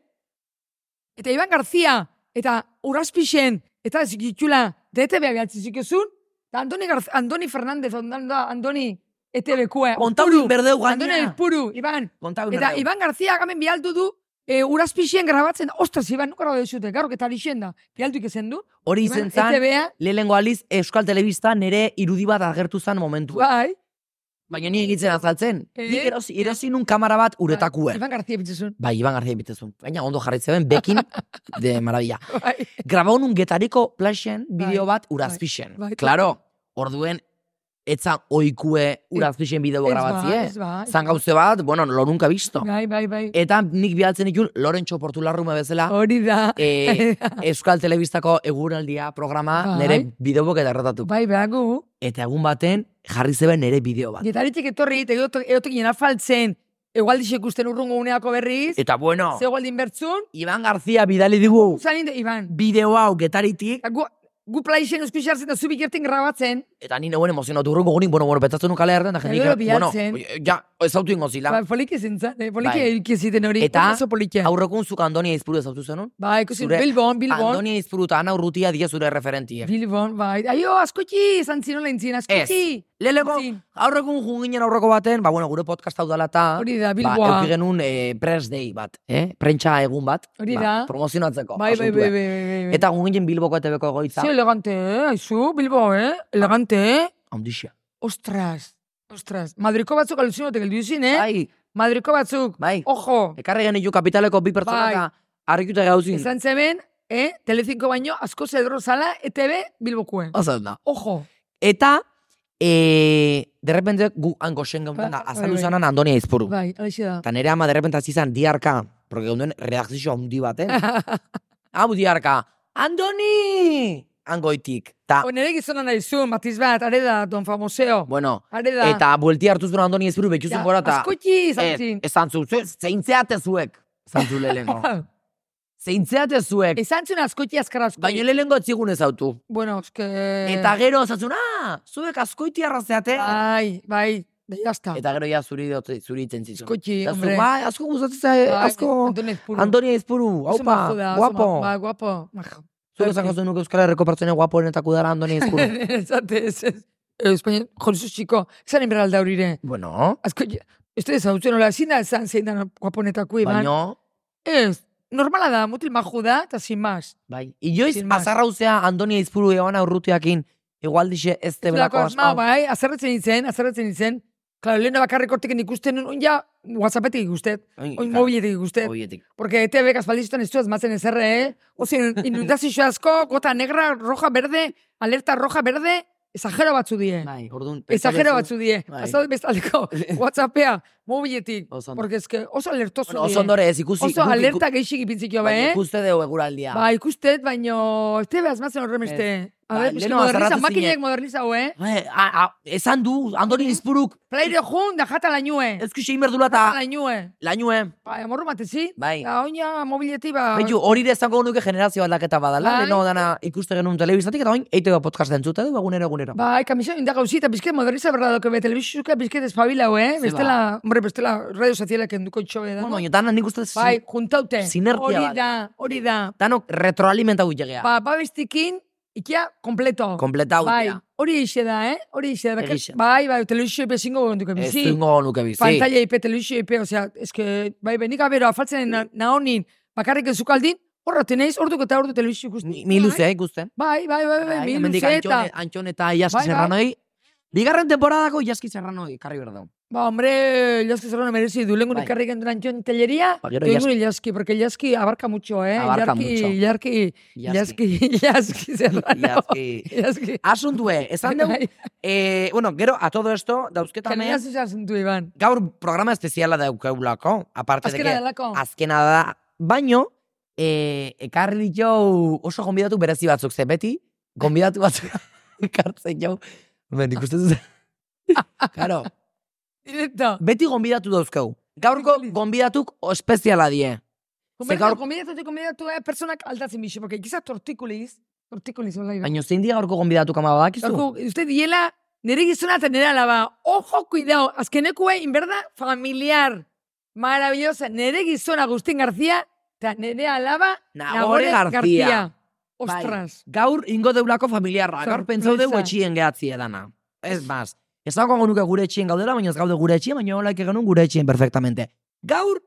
Speaker 2: Eta Iban Garzia, eta Uraspixen, eta zikitxula, eta E ete bea behatzi zikezun, eta Andoni, Garz, Andoni Fernandez, ondan da, Andoni, E ete bekue.
Speaker 3: Kontauri berdeu
Speaker 2: Andoni
Speaker 3: gaina.
Speaker 2: Puru, Iban.
Speaker 3: Kontauri
Speaker 2: Eta
Speaker 3: berdeu.
Speaker 2: Iban Garzia gamen bialdu du, e, Uraspixen grabatzen, ostras, Iban, nukara da dezute, garrok eta lixen da, bialduik ezen du.
Speaker 3: Hori
Speaker 2: Iban, E
Speaker 3: izen zan,
Speaker 2: ete bea,
Speaker 3: lehenengo aliz Euskal Telebista nire irudi bat agertu zan momentu.
Speaker 2: bai.
Speaker 3: Baina ni egitzen azaltzen.
Speaker 2: Eh? Ba,
Speaker 3: Nik erosi, erosi nun kamera bat uretakue.
Speaker 2: Iban Garzia bitzezun.
Speaker 3: Bai, Iban Garzia bitezun. Baina ondo jarraitzen bekin de maravilla.
Speaker 2: Bai.
Speaker 3: Grabau nun getariko plaxen
Speaker 2: Bai,
Speaker 3: bideo bat urazpixen.
Speaker 2: bai, bai.
Speaker 3: Claro, orduen etzan oikue urazpixen bideo
Speaker 2: Ez
Speaker 3: grabatzie.
Speaker 2: ez ba, ez
Speaker 3: Zan gauze bat, bueno, lo nunca visto.
Speaker 2: Bai, bai, bai.
Speaker 3: Eta nik bialtzen ikun Lorentxo Portularrume bezala.
Speaker 2: Hori da.
Speaker 3: Ah. eh, Euskal Telebistako eguraldia programa
Speaker 2: Bai.
Speaker 3: nire bideobok eta erratatu.
Speaker 2: bai, behagu.
Speaker 3: Eta egun baten jarri zeben nire bideo bat.
Speaker 2: Getaritik etorri, eta egotok egotok ginen afaltzen, egualdixek ikusten urrungo uneako berriz,
Speaker 3: Eta bueno,
Speaker 2: ze egualdin bertzun,
Speaker 3: Iban García bidali digu
Speaker 2: zan inde, Iban,
Speaker 3: bideo hau getaritik,
Speaker 2: eta gu, gu plaixen eusku jartzen da zu bikertin grabatzen, eta
Speaker 3: eta ni neuen emozionatu urrungo gunin, bueno, bueno, petatzen nun kalea erden, da jendik,
Speaker 2: gero
Speaker 3: bueno,
Speaker 2: bilatzen.
Speaker 3: ja, ez zautu ingozila.
Speaker 2: ba, poliki ezin zan, eh, poliki
Speaker 3: Bai.
Speaker 2: bai. ziten hori,
Speaker 3: Eta-
Speaker 2: oso polikia.
Speaker 3: Aurrekun zuk Andonia izpuru ez zautu zenun?
Speaker 2: Ba, ikusi,
Speaker 3: zure-
Speaker 2: Bilbon, Bilbon,
Speaker 3: Andonia izpuru eta Ana Urrutia die zure referentie.
Speaker 2: Bilbon, bai, aio, askotxi, izan zinon lehentzien, askotxi.
Speaker 3: Lelego,
Speaker 2: Zin.
Speaker 3: aurrekun junginen aurreko baten, ba, bueno, gure podcast hau dala eta...
Speaker 2: Hori da,
Speaker 3: Ba,
Speaker 2: Bilboa.
Speaker 3: euki genuen eh, press day bat, eh? prentsa egun bat.
Speaker 2: Hori
Speaker 3: ba,
Speaker 2: da.
Speaker 3: Promozionatzeko.
Speaker 2: bai, bai,
Speaker 3: asuntua.
Speaker 2: bai, bai, bai, bai.
Speaker 3: Eta gunginen Bilboko etebeko egoitza.
Speaker 2: Ze elegante, eh, aizu, Bilbo, eh, elegante, eh.
Speaker 3: Ondixia.
Speaker 2: Ostras, ostras. Madriko batzuk alusinote geldiu zin, eh?
Speaker 3: Bai,
Speaker 2: Madriko batzuk,
Speaker 3: bai.
Speaker 2: ojo,
Speaker 3: Ekarri genitu kapitaleko bi pertsona
Speaker 2: Bai.
Speaker 3: eta harrikuta gauzin.
Speaker 2: izan zeben, eh? Telecinco baino, asko zedro zala, ETV bilbokuen.
Speaker 3: Oso da.
Speaker 2: Ojo,
Speaker 3: Eta, e, derrepente gu hango xen gauntan da,
Speaker 2: Bai, bai,
Speaker 3: azaldu
Speaker 2: bai.
Speaker 3: zanan Andonia Izpuru.
Speaker 2: bai, alexe da.
Speaker 3: Eta nire ama derrepente azizan diarka, porque geunden redakzio handi baten. Hau diarka, Andoni! Hangoitik. Ta,
Speaker 2: O nere gizona nahi zuen, matiz bat, are da, don famoseo.
Speaker 3: bueno,
Speaker 2: Are da.
Speaker 3: eta Eh, buelti hartu zuen Andoni Izpuru betxuzun gora, eta
Speaker 2: Askotxi izan
Speaker 3: ez,
Speaker 2: zin.
Speaker 3: esan zu, zu- zeintzeate zuek, esan zu lehenengo. zeintzeate zuek,
Speaker 2: Esan zuen askotxi azkar asko.
Speaker 3: baina lehenengo etzigun ez autu.
Speaker 2: Bueno, eske... Eh.
Speaker 3: Eta gero osatzen, ah, zuek askoitiarra zeate.
Speaker 2: Bai, bai, da jazta.
Speaker 3: Eta gero ja zuri dut, zuri itzen zizu.
Speaker 2: Askotxi,
Speaker 3: Da zu,
Speaker 2: hombre.
Speaker 3: bai, asko gustatzen zaie,
Speaker 2: Bai,
Speaker 3: asko.
Speaker 2: Antonez Puru.
Speaker 3: Antonia Izpuru,
Speaker 2: Oso
Speaker 3: haupa,
Speaker 2: majo da, oso
Speaker 3: guapo.
Speaker 2: ma- Ba, guapo, majo.
Speaker 3: Zuek esango zenuk Euskal Herriko pertsona guapoenetako dara Antonia Izpuru.
Speaker 2: Esate, ez, ez. Espainian, jolzu txiko, esan inberalda horire.
Speaker 3: bueno,
Speaker 2: Azko, ustedes hautzen hola, ezin da esan zein da guaponetako iban.
Speaker 3: baino,
Speaker 2: Ez, normala da, mutil maju da, eta sin más.
Speaker 3: bai. Ioiz,
Speaker 2: Sin más.
Speaker 3: azarrauzea Antonia Izpuru egon aurrutiakin, igualdixe ez tebelako
Speaker 2: Zulako asma,
Speaker 3: asma.
Speaker 2: bai, azerretzen nintzen, azerretzen nintzen. Claro, lehena bakarrik hortekin ikusten, nun, ja, whatsappetik ikustet,
Speaker 3: Oin, bai,
Speaker 2: oin
Speaker 3: claro,
Speaker 2: mobiletik ikustet.
Speaker 3: Oietik.
Speaker 2: Porque E ETV kaspaldizutan ez duaz matzen ezerre, eh? Ozien, inundazio asko, gota negra, roja, verde, alerta roja, verde, esagero batzu die.
Speaker 3: Bai, orduan.
Speaker 2: Exagero
Speaker 3: pentsa
Speaker 2: batzu die. eh?
Speaker 3: Bai.
Speaker 2: Azal bestaldeko WhatsAppea, mobiletik.
Speaker 3: Oso ondo.
Speaker 2: Porque eske oso alertoso eh?
Speaker 3: Bueno, oso ondore ez ikusi.
Speaker 2: Oso
Speaker 3: guk iku-
Speaker 2: alerta geixik ipitzikio,
Speaker 3: Baina
Speaker 2: be, eh?
Speaker 3: ikuste dugu eguraldia.
Speaker 2: Ba, ikustet, baino, ez tebe azmatzen horren beste. A
Speaker 3: Ba,
Speaker 2: ber,
Speaker 3: leheno
Speaker 2: moderniza,
Speaker 3: azarratu
Speaker 2: makinek
Speaker 3: zinen.
Speaker 2: moderniza, eh?
Speaker 3: Eh, a- a- esan du, Andoni
Speaker 2: Bai.
Speaker 3: Izpuruk,
Speaker 2: Plaire jun, da jata lainue.
Speaker 3: ezku egin berdula
Speaker 2: Jata
Speaker 3: eta
Speaker 2: lainue.
Speaker 3: lainue.
Speaker 2: Bai, amorru matezi.
Speaker 3: Bai.
Speaker 2: Da, oina mobileti, ba.
Speaker 3: Baitu, hori ere esango nuke generazio aldaketa badala,
Speaker 2: Bai.
Speaker 3: leheno dana ikuste genuen telebistatik, eta oin, eiteko podcast entzute du, egunero egunero.
Speaker 2: Bai, kamisa inda gauzita, bizket moderniza berra dauke, be, telebizuzuka bizket espabilau, eh?
Speaker 3: Ze ba.
Speaker 2: Bestela, hombre, bestela, radio sozialak enduko itxobe da.
Speaker 3: Bueno, baina dana nik uste zin-
Speaker 2: Bai, juntaute.
Speaker 3: sinergia
Speaker 2: Hori
Speaker 3: bat.
Speaker 2: da, hori da.
Speaker 3: danok retroalimentau gegea.
Speaker 2: Ba, babestikin, ikia, kompleto.
Speaker 3: Kompletau.
Speaker 2: Bai,
Speaker 3: dira.
Speaker 2: hori eixe da, eh? Hori eixe da.
Speaker 3: Egixe.
Speaker 2: Bakar- Bai, bai, telebizio ipe zingo gonduko
Speaker 3: Ez
Speaker 2: bizi.
Speaker 3: zingo nuke bizi.
Speaker 2: Pantalla IP, telebizio IP, osea, eske, bai, benik abero,
Speaker 3: Eh.
Speaker 2: afaltzen na, naonin, bakarrik ezukaldin, horra teneiz, orduko eta ordu telebizio ikusten.
Speaker 3: Ni- Milu zea ikusten.
Speaker 2: Bai, bai, bai, bai,
Speaker 3: Bai,
Speaker 2: bai,
Speaker 3: hemendik
Speaker 2: milu eta...
Speaker 3: Antxone- Antxon eta Iaski
Speaker 2: Bai, bai.
Speaker 3: Serranoi. Bigarren temporadako Iaski Serranoi, karri berdau.
Speaker 2: Ba, hombre, Ilaski zerrona merezi du. Lengun
Speaker 3: Bai.
Speaker 2: ikarrik entran Antxon Tellería,
Speaker 3: Ba, gero
Speaker 2: lengun Ilaski, porque Ilaski abarca mucho, eh?
Speaker 3: Abarca mucho.
Speaker 2: Ilaski, Ilaski, Ilaski, Ilaski zerrona.
Speaker 3: Iaski.
Speaker 2: Ilaski.
Speaker 3: Asuntue, esan dugu,
Speaker 2: Bai.
Speaker 3: eh, bueno, gero, a todo esto, dauzketame,
Speaker 2: Kalea zuzea zentu, Iban.
Speaker 3: gaur programa espeziala daukeulako, aparte de
Speaker 2: Azkena
Speaker 3: que,
Speaker 2: delako.
Speaker 3: azkena da, baino, eh, ekarri ditu oso gonbidatu berezi batzuk, ze beti, gonbidatu batzuk ekartzen jau, ben, ikusten zuzen. Karo,
Speaker 2: Directo.
Speaker 3: beti gonbidatu dauzkegu. Gaurko gonbidatuk espeziala die.
Speaker 2: Komer,
Speaker 3: gaur-
Speaker 2: gaur... Komidatu eta komidatu eh, personak aldatzen bixe, porque giza tortikuliz, tortikuliz hola iba.
Speaker 3: Baina zein dira gaurko gonbidatuk ama badakizu?
Speaker 2: Gaurko, uste diela, nire gizona eta nire alaba, ojo, cuidao, azkenekue, inberda, E, familiar, maravillosa, nire gizona Agustín García, eta nire alaba,
Speaker 3: Nagore García. Bai.
Speaker 2: Ostras.
Speaker 3: Gaur ingo deulako familiarra, gaur
Speaker 2: Sorpresa.
Speaker 3: pentsau deu etxien gehatzi edana. Ez baz. Ez dago nuke gure etxien gaudela, baina ez gaude gure etxien, baina hola genuen gure etxien perfectamente. Gaur,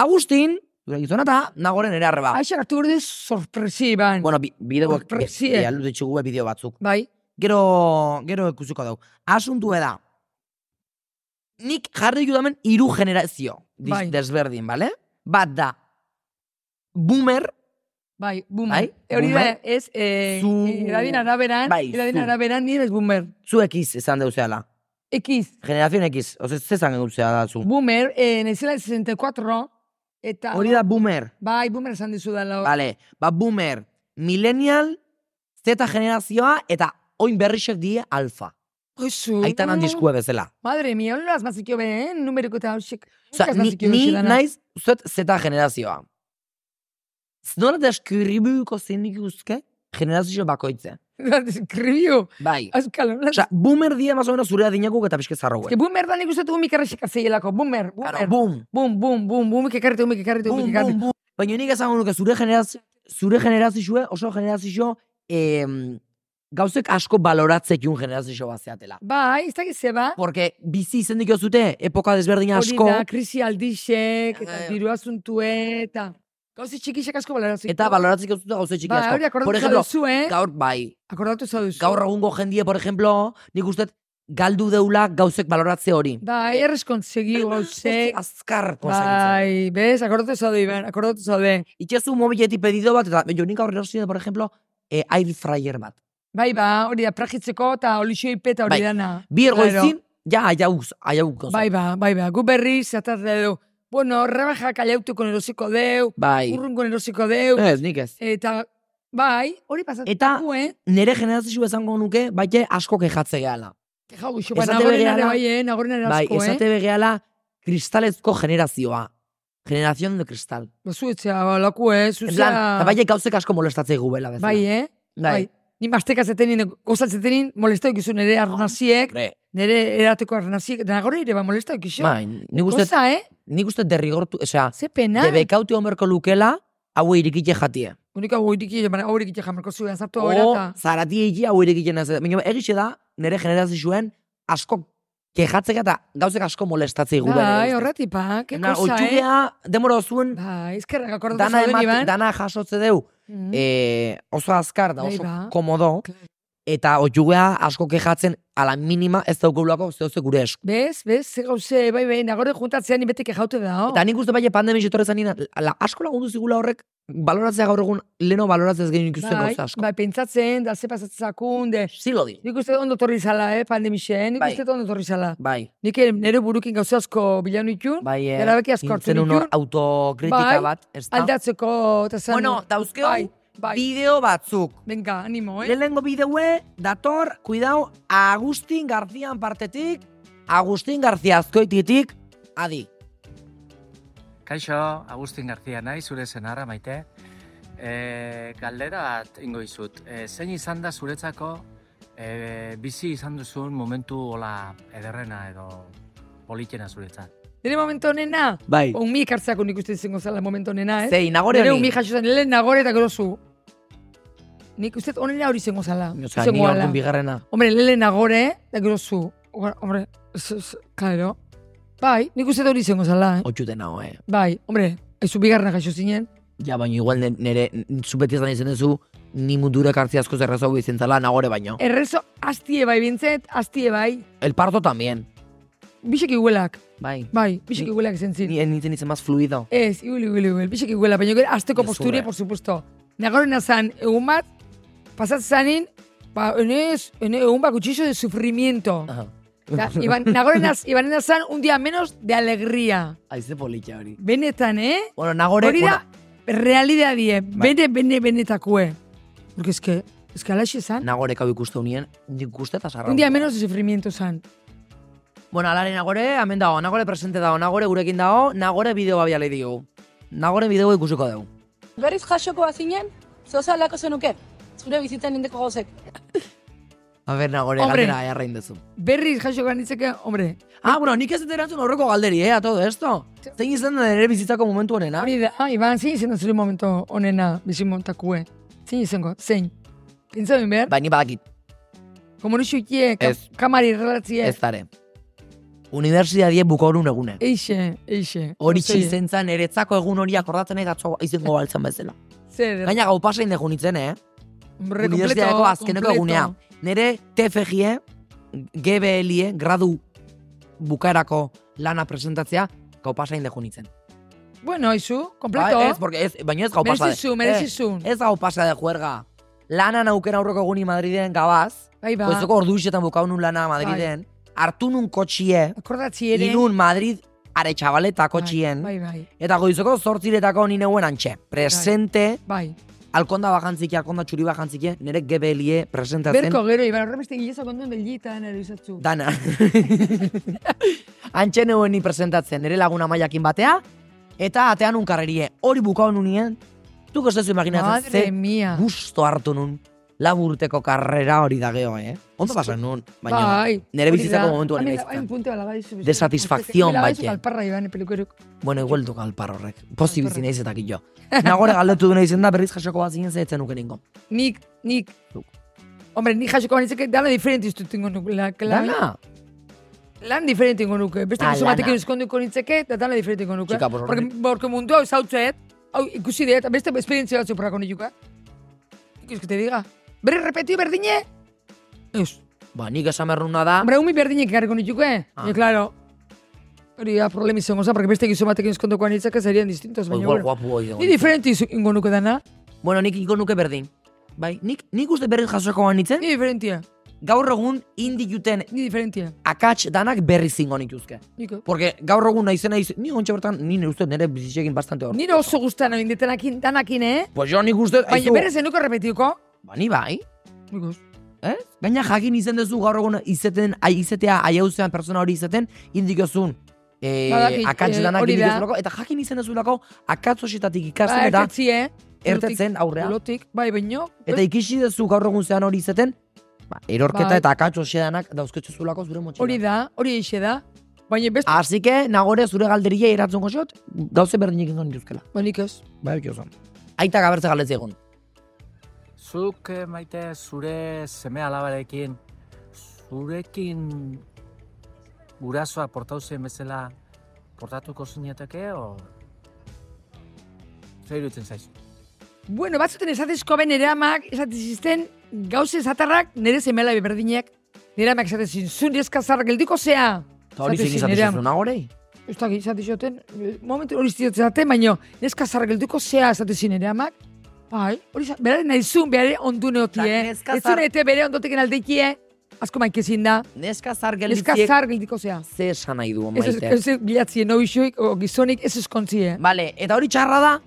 Speaker 3: Agustin, zure gizona eta nagoren ere arreba.
Speaker 2: Aixa gartu borde sorpresiban.
Speaker 3: Bueno, bi- bideoak, bi-
Speaker 2: Sorpresie.
Speaker 3: bi- aldu ditugu be bideo batzuk.
Speaker 2: Bai,
Speaker 3: Gero, gero ikusiko dau. Asuntu da. Nik jarri judamen hiru generazio diz,
Speaker 2: Bai.
Speaker 3: desberdin, bale? Bat da, boomer,
Speaker 2: bai, boomer.
Speaker 3: Bai,
Speaker 2: E Hori da,
Speaker 3: boomer.
Speaker 2: ez, eh,
Speaker 3: Zu-
Speaker 2: eh, edadin araberan,
Speaker 3: Bai,
Speaker 2: edadin
Speaker 3: zu.
Speaker 2: araberan, nire ez boomer.
Speaker 3: zuek iz izan deuzeala.
Speaker 2: Ekiz,
Speaker 3: Generazion X, oze, zezan egutzea da zu.
Speaker 2: Boomer, eh, naizela 64, eta...
Speaker 3: Hori da boomer.
Speaker 2: Bai, boomer esan dizu da lau.
Speaker 3: Bale, ba boomer, millennial, Z generazioa eta oin berrixek die alfa.
Speaker 2: Oizu.
Speaker 3: Aitan handizkue bezala.
Speaker 2: Madre mia, hola azmazikio be, eh? Numeriko eta hausik.
Speaker 3: Osa, ni, ni naiz zuet Z generazioa. Nola deskribuko zenik uzke generazio bakoitze.
Speaker 2: Eskribio.
Speaker 3: Bai.
Speaker 2: Azkal, hola.
Speaker 3: Osa, boomer die más o menos zure adinakuk eta pixke
Speaker 2: Eske
Speaker 3: zarroue.
Speaker 2: boomer da nik uste dugu mikarrexik azeielako. Boomer,
Speaker 3: Claro,
Speaker 2: boomer.
Speaker 3: boom,
Speaker 2: Bum, bum, bum, bum, ikarritu, ikarritu,
Speaker 3: boom,
Speaker 2: ikarritu.
Speaker 3: boom, boom. Baina nik esango nuke zure generazio, zure generazioa oso generazio em, gauzek asko baloratzekun generazio bazeatela.
Speaker 2: Bai, ez dakit ze ba.
Speaker 3: Porque bizi izen dik zute, epoka desberdin
Speaker 2: Hori
Speaker 3: asko,
Speaker 2: da, krisi aldixek, eta
Speaker 3: Eh.
Speaker 2: diru azuntue, eta... Gauzi txikixek asko balaraziko.
Speaker 3: eta baloratzeko zute gauze txiki
Speaker 2: Ba, hori
Speaker 3: asko. Por
Speaker 2: akordatu
Speaker 3: ejemplo,
Speaker 2: zauduzu, eh?
Speaker 3: gaur, bai,
Speaker 2: Akordatu zauduzu.
Speaker 3: gaur egungo jendie, por ejemplo, nik uste galdu deula gauzek baloratze hori.
Speaker 2: Bai, errez kontzegi
Speaker 3: Ze
Speaker 2: gauzek.
Speaker 3: azkar konsegitzen.
Speaker 2: Bai, bez, akordatu zaude, Iban, akordatu zaude.
Speaker 3: Itxezu mobiletik pedido bat, eta jo nik aurrera ziren, por ejemplo, eh, air fryer bat.
Speaker 2: Bai, ba, hori da, prajitzeko eta olixio ipeta hori
Speaker 3: Bai.
Speaker 2: dana.
Speaker 3: Bi
Speaker 2: Claro.
Speaker 3: ergoizin, ja aiauz, aiauz gauza.
Speaker 2: Bai, ba, bai, ba. Gu berriz, atarra deu. Bueno, rebajak aiautuko erosiko deu,
Speaker 3: bai.
Speaker 2: urrungo erosiko deu,
Speaker 3: Ez, nik ez.
Speaker 2: eta bai, hori pasatzen
Speaker 3: Eta-
Speaker 2: dugu, eh?
Speaker 3: Nere generazio esango nuke, baita asko kejatze gehala.
Speaker 2: Keja guxu, ba,
Speaker 3: Esate
Speaker 2: nagorenare
Speaker 3: berehala-
Speaker 2: bai, eh? Nagorenare
Speaker 3: Bai,
Speaker 2: asko,
Speaker 3: esate
Speaker 2: eh?
Speaker 3: begehala kristalezko generazioa. Generación de kristal.
Speaker 2: Bazu etxea, ba, laku, eh?
Speaker 3: En plan,
Speaker 2: Zuzea...
Speaker 3: eta bai gauzek asko molestatzei gubela bezala.
Speaker 2: bai, eh? Bai. Ni mastekaz etenin, gozatzen etenin, molestau ikizu nire
Speaker 3: Ah.
Speaker 2: arnaziek,
Speaker 3: Hombre,
Speaker 2: nere erateko arnaziek, eta nagore ere, ba, molestau ikizu.
Speaker 3: bai, nik uste,
Speaker 2: Goza, eh?
Speaker 3: nik uste derrigortu, osea,
Speaker 2: Ze pena.
Speaker 3: debekauti homerko lukela, hau irikite jatie.
Speaker 2: Unika goiriki, baina aurikitxe jamarko zuen, zartu hau
Speaker 3: O,
Speaker 2: eta...
Speaker 3: zarati egi hau irikite naz. Baina egixe da, nere generazioen asko kejatzek eta gauzek asko molestatzei gubela.
Speaker 2: Bai, horratipa, ke cosa, eh?
Speaker 3: Oitxugea, demora ozuen,
Speaker 2: Bai, eskerrak akordatu
Speaker 3: dana,
Speaker 2: zauden,
Speaker 3: emate,
Speaker 2: Iban.
Speaker 3: dana jasotze deu,
Speaker 2: Mhm.
Speaker 3: eh, oso azkar da,
Speaker 2: Bai,
Speaker 3: oso
Speaker 2: ba.
Speaker 3: komodo,
Speaker 2: Claro.
Speaker 3: eta oitxugea asko kejatzen, ala minima ez daukagulako zehose gure esku.
Speaker 2: Bez, bez, ze gauze, bai, bai, nagore juntatzean ibetik jaute da, oh.
Speaker 3: Eta nik uste baina pandemia etorri zan nina, la, asko lagundu zigula horrek, baloratzea gaur egun, leno baloratzea ez genuen ikusten
Speaker 2: bai,
Speaker 3: gauza asko.
Speaker 2: bai, pentsatzen, da ze pasatzen zakun, de...
Speaker 3: Zilo di.
Speaker 2: Nik uste ondo torri zala, eh, pandemixen, nik
Speaker 3: Bai.
Speaker 2: uste ondo torri zala.
Speaker 3: Bai,
Speaker 2: Nik eh, nire burukin gauze asko bilan itun,
Speaker 3: bai, eh,
Speaker 2: erabaki asko hartu
Speaker 3: nintzen
Speaker 2: nitun,
Speaker 3: autokritika
Speaker 2: Bai,
Speaker 3: bat, ez da?
Speaker 2: aldatzeko, eta zen...
Speaker 3: Bueno, dauzkeo,
Speaker 2: Bai. Bai.
Speaker 3: bideo batzuk.
Speaker 2: Benga, animo, eh?
Speaker 3: Lehenengo bideue, dator, kuidao, Agustin Garzian partetik, Agustin Garzia azkoititik, adi.
Speaker 4: Kaixo, Agustin Garzia nahi, zure senarra maite. E, galdera bat ingo izut. E, zein izan da zuretzako e, bizi izan duzun momentu hola ederrena edo politena zuretzat?
Speaker 2: Nire momentu honena,
Speaker 3: Bai.
Speaker 2: onmi ekartzeako nik uste izango zela momentu honena, eh?
Speaker 3: Zein, nagore
Speaker 2: Nire
Speaker 3: honi?
Speaker 2: onmi jaso zen, lehen nagore eta gero zu. Nik uste onena hori izango zela.
Speaker 3: Osea,
Speaker 2: izango
Speaker 3: ni
Speaker 2: ala.
Speaker 3: orduan bigarrena.
Speaker 2: Hombre, lehen nagore eta gero zu. Ora, Hombre, ez- ez- claro. Bai, nik uste hori izango zela, eh?
Speaker 3: Otxute nago, eh.
Speaker 2: Bai, hombre, aizu bigarren jaso zinen.
Speaker 3: Ja, baina igual ne- nere, n- zu beti izan izen duzu, ni mundura kartzia asko zerrezo izan zala nagore baino.
Speaker 2: Errezo, aztie bai bintzet, aztie bai.
Speaker 3: El parto tamien.
Speaker 2: Bisek iguelak,
Speaker 3: Bai.
Speaker 2: bai, bisek
Speaker 3: Ni-
Speaker 2: iguelak zen zin.
Speaker 3: Ni nintzen izen más fluido.
Speaker 2: Ez, iguel, iguel, iguel, bisek iguela, baina gero azteko
Speaker 3: Gezurra.
Speaker 2: posture, por supuesto. Nagorena zan, egun bat, pasat zanin, ba, enez, ene, egun bat, cuchillo de sufrimiento.
Speaker 3: Aha.
Speaker 2: Da, iban, nagorena, ibanena zan, un día menos de alegría.
Speaker 3: Aize politxa hori.
Speaker 2: Benetan, eh?
Speaker 3: Bueno, nagore...
Speaker 2: Hori da, realidadie,
Speaker 3: Bai.
Speaker 2: bene, bene, benetakue. Porque es que, es que alaxe zan,
Speaker 3: nagore kau ikuste unien, nik uste eta sarra.
Speaker 2: un día menos de sufrimiento zan.
Speaker 3: Bueno, alaren nagore, hemen dago, nagore presente dago, nagore gurekin dago, nagore bideo babia lehi digu. Nagore bideo ikusiko dugu.
Speaker 5: Berriz jasoko bazinen, zozalako zenuke, zure bizitzen indeko gauzek.
Speaker 3: A ber, nagore,
Speaker 2: Hombre.
Speaker 3: galdera errain dezu.
Speaker 2: Berriz jaso ganitzeke, hombre,
Speaker 3: Ah, bueno, nik ez dut erantzun horreko galderi, eh, a todo esto. Zein izan da nire bizitzako momentu honena?
Speaker 2: Hori da, ah, Iban, zein izan da zure momento onena bizimontakue? Zein izango, zein? Pintza bin behar,
Speaker 3: Ba, ni badakit,
Speaker 2: komunixukie, ka,
Speaker 3: Ez.
Speaker 2: kamari relatzie.
Speaker 3: ez dare. Unibertsitate bukorun egune.
Speaker 2: Eixe, eixe.
Speaker 3: Hori
Speaker 2: Ose,
Speaker 3: izen zan eretzako egun hori akordatzen egatzo izango baltzen bezala.
Speaker 2: Zer,
Speaker 3: Gaina gau pasein degun itzen, eh?
Speaker 2: hombre,
Speaker 3: Unibertsitateko
Speaker 2: kompleto,
Speaker 3: azkeneko
Speaker 2: kompleto.
Speaker 3: egunea. Nire TFG-e, GBL-e, E, gradu bukaerako lana presentatzea, gau pasain dejo nitzen.
Speaker 2: Bueno, izu, kompleto.
Speaker 3: Ba, ez, porque ez, baina ez gau pasa. de-
Speaker 2: Merezizu, merezizu.
Speaker 3: bai. Eh, ez gau pasa de juerga. Lanan aukera aurreko eguni Madriden gabaz,
Speaker 2: Bai, ba, Bai.
Speaker 3: goizeko ordu isetan bukau nun lana Madriden, hartu nun kotxie,
Speaker 2: akordatzi ere.
Speaker 3: inun Madrid are txabaleta
Speaker 2: Bai,
Speaker 3: kotxien,
Speaker 2: Bai, bai,
Speaker 3: eta goizeko zortziretako ni neuen antxe. Presente,
Speaker 2: bai.
Speaker 3: alkonda bajantzike, alkonda txuri bajantzike, nire GBL-e presentatzen.
Speaker 2: Berko gero, Iban, horren beste gilezak ondoen belgitan, ero izatzu.
Speaker 3: Dana. Antxe neuen ni presentatzen, nire laguna maiakin batea, eta atean unkarrerie. Hori bukau nunien, tuk ez dezu imaginatzen,
Speaker 2: Madre
Speaker 3: ze
Speaker 2: mia.
Speaker 3: gusto hartu nun. Laburteko karrera hori da geho, eh? Ondo pasan nun, baina
Speaker 2: Bai,
Speaker 3: nere
Speaker 2: hori
Speaker 3: bizitzako
Speaker 2: da.
Speaker 3: momentu
Speaker 2: Hain-
Speaker 3: hori
Speaker 2: hain
Speaker 3: bizitzan.
Speaker 2: punte bala, bai, zu-
Speaker 3: De satisfacción,
Speaker 2: Bela, bai, zu
Speaker 3: baite.
Speaker 2: kalparra, Iban, pelukeruk.
Speaker 3: Bueno, igual du galpar horrek. Pozi bizi
Speaker 2: Galparra.
Speaker 3: naiz eta kilo. Nagore galdetu du naizen da, berriz jasoko bat zinen zeetzen nuke ningo.
Speaker 2: Nik, nik.
Speaker 3: Zuk.
Speaker 2: Hombre, nik jasoko banitzeke dana diferente iztut ingo nuke. La, la,
Speaker 3: Lana?
Speaker 2: Lan diferente ingo nuke. Beste
Speaker 3: Ah,
Speaker 2: ah, batekin
Speaker 3: lana.
Speaker 2: euskonduko nitzeke, eta dana diferente ingo nuke.
Speaker 3: Txika, pues,
Speaker 2: Porque,
Speaker 3: horren-
Speaker 2: porque mundu hau zautzeet, hau ikusi dut, eta beste esperientzia batzu porrako nituka. Ikusi te diga. Berri repetio berdine? Ez.
Speaker 3: Ba, nik esan berruna da,
Speaker 2: Hombre, umi berdinek ekarriko nituke.
Speaker 3: Ah.
Speaker 2: Ah. claro. Hori da problemi izango zen, porque beste gizu batekin euskonduko nitzeke serían distintos,
Speaker 3: o
Speaker 2: baina
Speaker 3: igual
Speaker 2: bueno.
Speaker 3: guapu hoi dago.
Speaker 2: Ni diferente izu- ingo nuke dana.
Speaker 3: Bueno, nik iko nuke berdin. Bai, nik, nik uste berriz jasoko bat nintzen,
Speaker 2: Ni diferentia,
Speaker 3: gaur egun indi juten
Speaker 2: ni diferentia.
Speaker 3: akats danak berriz zingo nituzke.
Speaker 2: Niko.
Speaker 3: Porque gaur egun naizena iz, ni ontsa bertan, ni nire uste nire bizitzekin bastante hor.
Speaker 2: Nire oso guztan egin detanakin, danakin, eh?
Speaker 3: Pues jo nik uste,
Speaker 2: Baina
Speaker 3: aizu,
Speaker 2: berez zenuko repetiko.
Speaker 3: ba ni bai,
Speaker 2: Nikos.
Speaker 3: eh? Gaina jakin izen duzu gaur egun izeten, ai, izetea aiauzean persona hori izeten, indikozun eh,
Speaker 2: Badaki,
Speaker 3: akats
Speaker 2: eh,
Speaker 3: danak
Speaker 2: hori da.
Speaker 3: indikozulako, eta jakin izen duzulako akats horietatik
Speaker 2: Ba,
Speaker 3: ikasten eta
Speaker 2: ertetzi, eh?
Speaker 3: ertetzen aurrea.
Speaker 2: Lotik, bai, baino.
Speaker 3: Eta ikisi duzu gaur egun zean hori izeten, ba, erorketa
Speaker 2: Bai.
Speaker 3: eta akats danak dauzketzuzulako zure motxila.
Speaker 2: Hori da, hori eixe da. Baina beste,
Speaker 3: Así que, nagore zure galderia eratzen goxot, gauze berdinik ingo nituzkela.
Speaker 2: banik ez.
Speaker 3: Bai, Aita gabertze galdetzi egun.
Speaker 4: Zuk eh, maite zure seme alabarekin, zurekin gurasoa portau zen bezala portatuko zinateke o... Zer iruditzen zaizu?
Speaker 2: Bueno, batzuten esatezko ben nere amak, esatezisten gauze esatarrak nere zemela berdinek. Nere amak esatezin, zun eskazarrak geldiko zea.
Speaker 3: Eta hori zein
Speaker 2: Esatezin,
Speaker 3: izaten
Speaker 2: nere ama-
Speaker 3: zuzun nagorei?
Speaker 2: Ez da, izatizioten, momentu hori izatizioten, baina neskazarrak geldiko zea esatezin nere amak. Bai, hori za- beraren nahizun, beraren ondu
Speaker 3: Ta
Speaker 2: neotie.
Speaker 3: neskazar-
Speaker 2: Ez zuen ete bere ondotekin aldekie, asko maikezin da.
Speaker 3: Neska zar geldiziek
Speaker 2: Neskazar geldiko zea.
Speaker 3: ze esan nahi du
Speaker 2: Ez ez-
Speaker 3: maite.
Speaker 2: ez ez bilatzen no isuik, o gizonik ez ezkontzie.
Speaker 3: Vale, eta hori txarra da,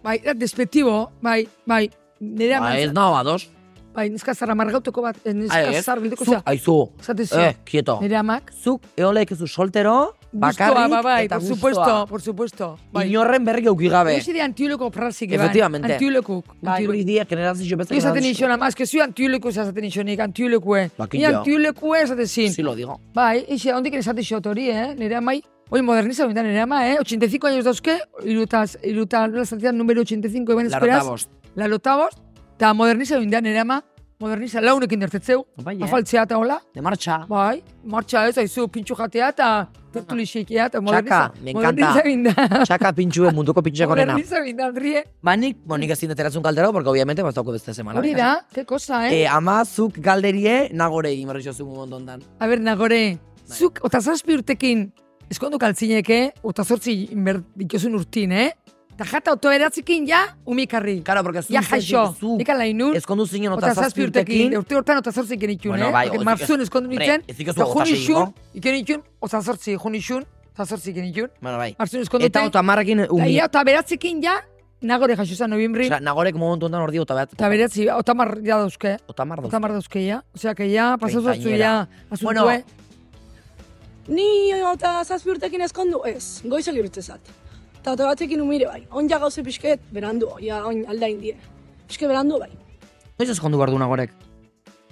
Speaker 2: Bai, da despetibo, bai, bai. Nerea
Speaker 3: Ba, ez
Speaker 2: mantza.
Speaker 3: nago ados.
Speaker 2: Bai, neska zara margautuko bat, eh,
Speaker 3: Ai,
Speaker 2: neska
Speaker 3: ez?
Speaker 2: zar bilduko
Speaker 3: Zuk,
Speaker 2: zera.
Speaker 3: aizu,
Speaker 2: Esate zio.
Speaker 3: eh, kieto.
Speaker 2: Nire amak.
Speaker 3: Zuk eolek ezu soltero, bakarrik
Speaker 2: Gustoa, ba, bai,
Speaker 3: eta
Speaker 2: por supuesto,
Speaker 3: gustoa.
Speaker 2: por supuesto. Bai.
Speaker 3: Inorren berri gauki gabe.
Speaker 2: Ikusi de antiuleko frasik, eban.
Speaker 3: Efectivamente.
Speaker 2: Antiulekuk.
Speaker 3: Bai,
Speaker 2: antiulekuk.
Speaker 3: hori dia generazio bezala.
Speaker 2: Ni esaten
Speaker 3: generazio-
Speaker 2: nixon, ama, eske zu antiuleku esaten nixonik, antiulekue.
Speaker 3: Ba,
Speaker 2: Ni
Speaker 3: kila.
Speaker 2: antiulekue esaten zin.
Speaker 3: Sí lo digo.
Speaker 2: Bai, ixe, ondik esaten xot hori, eh? Nire amai, hoi moderniza bintan nire ama, eh? 85 años dauzke, irutas, irutas, la santidad número 85, iban
Speaker 3: Laro
Speaker 2: esperaz.
Speaker 3: eta bost.
Speaker 2: La lotavos. Ta moderniza bintan nire ama, moderniza launekin dertetzeu.
Speaker 3: Bai, eh?
Speaker 2: Afaltzea eta hola.
Speaker 3: De marcha.
Speaker 2: Bai, martxa ez, aizu, pintxo jatea eta tertuli xeikea eta moderniza.
Speaker 3: Txaka, me encanta.
Speaker 2: Moderniza binda.
Speaker 3: Txaka pintxue munduko pintxeko nena.
Speaker 2: Moderniza binda, Andrie.
Speaker 3: Ba, nik, bo, nik ezin dut erantzun galdera, porque obviamente bastauko beste semana.
Speaker 2: Hori da, ke kosa, eh?
Speaker 3: Eh, ama, zuk galderie, nagore egin berri zozu momentu ondan.
Speaker 2: A ber, nagore,
Speaker 3: Bai.
Speaker 2: zuk, eta zazpi urtekin, eskondu kaltzinek, eh? Ota zortzi inber- dituzun urtin, eh? Eta jata oto eratzikin, ja, umikarri.
Speaker 3: Claro, porque zu...
Speaker 2: Ja, jaixo,
Speaker 3: Zu,
Speaker 2: nika lainun,
Speaker 3: eskondu zinen
Speaker 2: ota
Speaker 3: ota
Speaker 2: zazpi urtekin,
Speaker 3: zazpiurtekin.
Speaker 2: urte hortan ota zortzi iken itxun,
Speaker 3: Bueno,
Speaker 2: eh?
Speaker 3: bai,
Speaker 2: Porque
Speaker 3: ozik
Speaker 2: marzun
Speaker 3: ez-
Speaker 2: eskondu
Speaker 3: Hombre,
Speaker 2: nintzen,
Speaker 3: ezik ez
Speaker 2: eta
Speaker 3: dugu
Speaker 2: jun
Speaker 3: jota
Speaker 2: itxun,
Speaker 3: segiko.
Speaker 2: iken itxun, ota zortzi, jun itxun, ota zortzi iken itxun.
Speaker 3: Bueno, bai.
Speaker 2: Marzun eskondu
Speaker 3: Eta ota marrekin
Speaker 2: Eta
Speaker 3: umi.
Speaker 2: ia, eta beratzekin ja, nagore jaso zen noviembri.
Speaker 3: Osea, nagorek momentu ondan ordi ota bat.
Speaker 2: Eta beratzi, otamar ja dauzke.
Speaker 3: Otamar dauz.
Speaker 2: Otamar dauzke ja. Osea, que ja, pasau zortzu ja,
Speaker 3: Treintañera.
Speaker 2: asuntua.
Speaker 3: Bueno,
Speaker 2: Bueno,
Speaker 5: Ni eta zazpi urtekin eskondu, ez, goizak irutzen zat. Eta ote batekin umire bai, on ja gauze pixket, berandu, ja, on alda indie. Pixke berandu bai.
Speaker 3: Noiz eskondu behar du nagorek?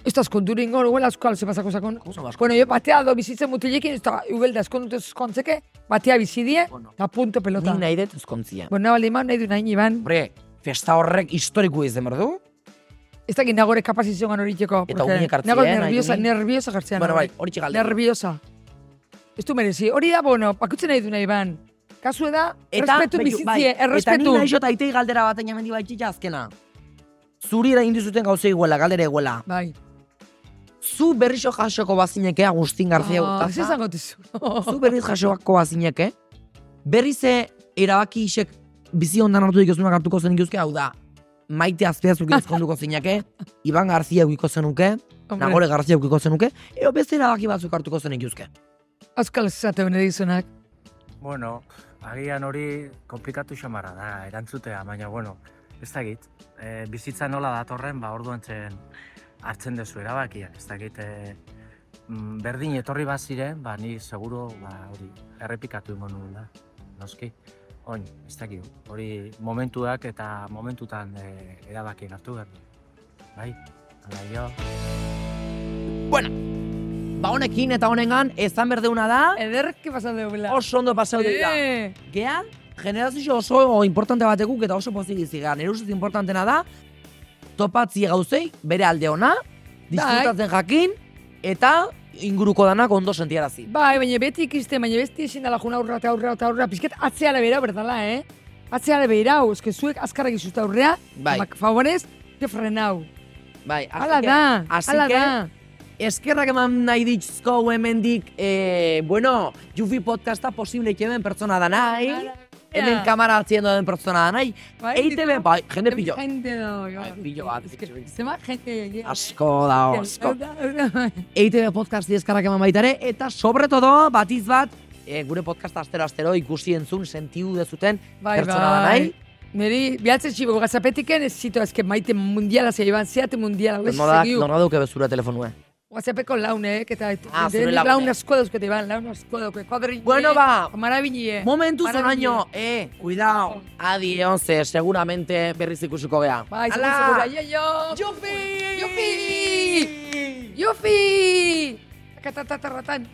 Speaker 2: ez da eskondu ringo, huela euskal ze pasako sakon.
Speaker 3: Gauza basko.
Speaker 2: Bueno, jo batea do bizitzen mutilekin, eta ubelda eskondu eskontzeke, batea bizidie,
Speaker 3: Bueno.
Speaker 2: eta punto pelota.
Speaker 3: Nik nahi dut ezkontzia.
Speaker 2: Bueno, bali eman, nahi du nahi iban.
Speaker 3: Hombre, festa horrek historiku izan behar du.
Speaker 2: Ez dakit nagore kapazizioan hori itxeko.
Speaker 3: Eta
Speaker 2: porque
Speaker 3: unik hartzea,
Speaker 2: Nagore
Speaker 3: nahi du
Speaker 2: nerviosa,
Speaker 3: nik.
Speaker 2: nerviosa jartzean.
Speaker 3: Bueno, bai, hori txigalde.
Speaker 2: Nerviosa. Ez du merezi. Hori da, bueno, pakutzen nahi du nahi ban. Kasu da, errespetu
Speaker 3: beitu, bai,
Speaker 2: bizitzie,
Speaker 3: Eta ni
Speaker 2: errespetu.
Speaker 3: nahi jota aitei galdera bat enamendi baitxita azkena. Zuri da indizuten gauze iguela, galdera iguela.
Speaker 2: Bai.
Speaker 3: Zu berrizo jasoko bazineke Agustin García
Speaker 2: Ah, Ez
Speaker 3: Urtaza.
Speaker 2: izango dizu.
Speaker 3: Zu berriz jasoko bazineke. Berriz eh, erabaki isek bizi ondan hartu dikezunak hartuko zen ikuzke, hau da. Maite azpiazuk ezkonduko zineke, Iban Garzia eukiko zenuke,
Speaker 2: Hombre,
Speaker 3: Nagore Garzia eukiko zenuke, eo beste erabaki batzuk hartuko zen ikuzke.
Speaker 2: Euskal zate hone dizunak.
Speaker 4: Bueno, agian hori komplikatu xamarra da, erantzutea, baina, bueno, ez dakit. E, bizitza nola datorren, ba, orduan zen hartzen dezu erabakiak, ez dakit. E, mm, berdin etorri baziren, ba, ni seguro, ba, hori, errepikatu ingo nuen da, noski. Oin, ez dakit, hori momentuak eta momentutan e, erabaki hartu behar. du. Bai, ala jo.
Speaker 3: Ba honekin eta honengan, ezan berdeuna da,
Speaker 2: Ederki pasan dugu bila.
Speaker 3: oso ondo paseo dira.
Speaker 2: Eh,
Speaker 3: Gea, generazio oso importante batekuk eta oso pozik izi gara. Nire ustez importantena da, topatzie gauzei, bere alde ona,
Speaker 2: Bai.
Speaker 3: disfrutatzen jakin, eta inguruko danak ondo sentiarazi.
Speaker 2: Bai, baina beti ikisten, baina beti ezin dala juna aurra eta aurra eta aurra. Pizket atzeara behirau, berdala, eh? Atzeara behirau, eske zuek azkarra gizuta aurrea.
Speaker 3: Bai.
Speaker 2: Mak favorez, te frenau.
Speaker 3: Bai, así
Speaker 2: Hala
Speaker 3: que-
Speaker 2: da,
Speaker 3: así
Speaker 2: hala
Speaker 3: que-
Speaker 2: da.
Speaker 3: Eskerrak eman nahi ditzko hemendik, eh, bueno, Jufi podcasta posible hemen pertsona da nahi, hemen kamara haciendo den pertsona da nahi,
Speaker 2: Bai,
Speaker 3: EITB,
Speaker 2: ditu.
Speaker 3: bai, jende pillo.
Speaker 2: Jende dago.
Speaker 3: Bai, pillo bat,
Speaker 2: Eske,
Speaker 3: pillo bat.
Speaker 2: Zema jende. Bai,
Speaker 3: Asko da, asko. E EITB podcasti eskarrak eman baita ere, eta sobre todo, batiz bat, eh, gure podcast astero-astero ikusi entzun sentiu dezuten
Speaker 2: Bai,
Speaker 3: pertsona da nahi.
Speaker 2: bai. Neri, bihatzen txibo, gazapetiken ez zito, ezke maite mundiala, zei ban, zeate mundiala, bez
Speaker 3: Norma da,
Speaker 2: segiu.
Speaker 3: norma duke bezura telefonue.
Speaker 2: Whatsappeko launek, eta
Speaker 3: Ah, zure
Speaker 2: denek
Speaker 3: launek.
Speaker 2: laun asko dauzkete, ban, laun asko dauke, kuadrille,
Speaker 3: Bueno, ba.
Speaker 2: marabille.
Speaker 3: Momentu
Speaker 2: Para
Speaker 3: zonaino, eh, cuidao, adi eonze, seguramente berriz ikusiko gea.
Speaker 2: Bai, segun,
Speaker 3: Ala!
Speaker 2: segura, yo, eh, yo.
Speaker 3: Jupi!
Speaker 2: Jupi! Jupi! Akatatarratan.